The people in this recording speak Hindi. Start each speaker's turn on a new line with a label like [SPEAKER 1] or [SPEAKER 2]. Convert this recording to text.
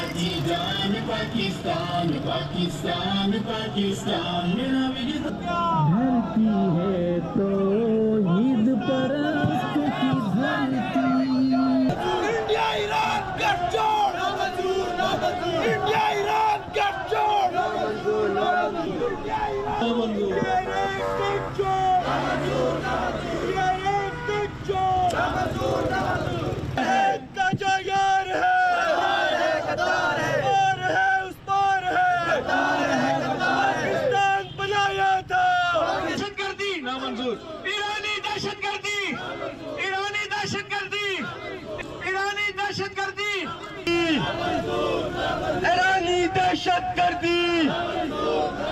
[SPEAKER 1] की जान पाकिस्तान पाकिस्तान पाकिस्तान मेरा विजय धरती है तो ईद परस्त की धरती
[SPEAKER 2] इंडिया ईरान गठजोड़ इंडिया ईरान गठजोड़ इंडिया ईरान
[SPEAKER 1] मंजूर।
[SPEAKER 2] इंडिया ईरान गठजोड़ इंडिया ईरान गठजोड़ एक का जागार है और है उस पार है पाकिस्तान बनाया था
[SPEAKER 3] दहशतगर्दी नामंजूर ईरानी दहशतगर्दी ईरानी दहशतगर्दी ईरानी दहशतगर्दी
[SPEAKER 2] ईरानी दहशत गर्दी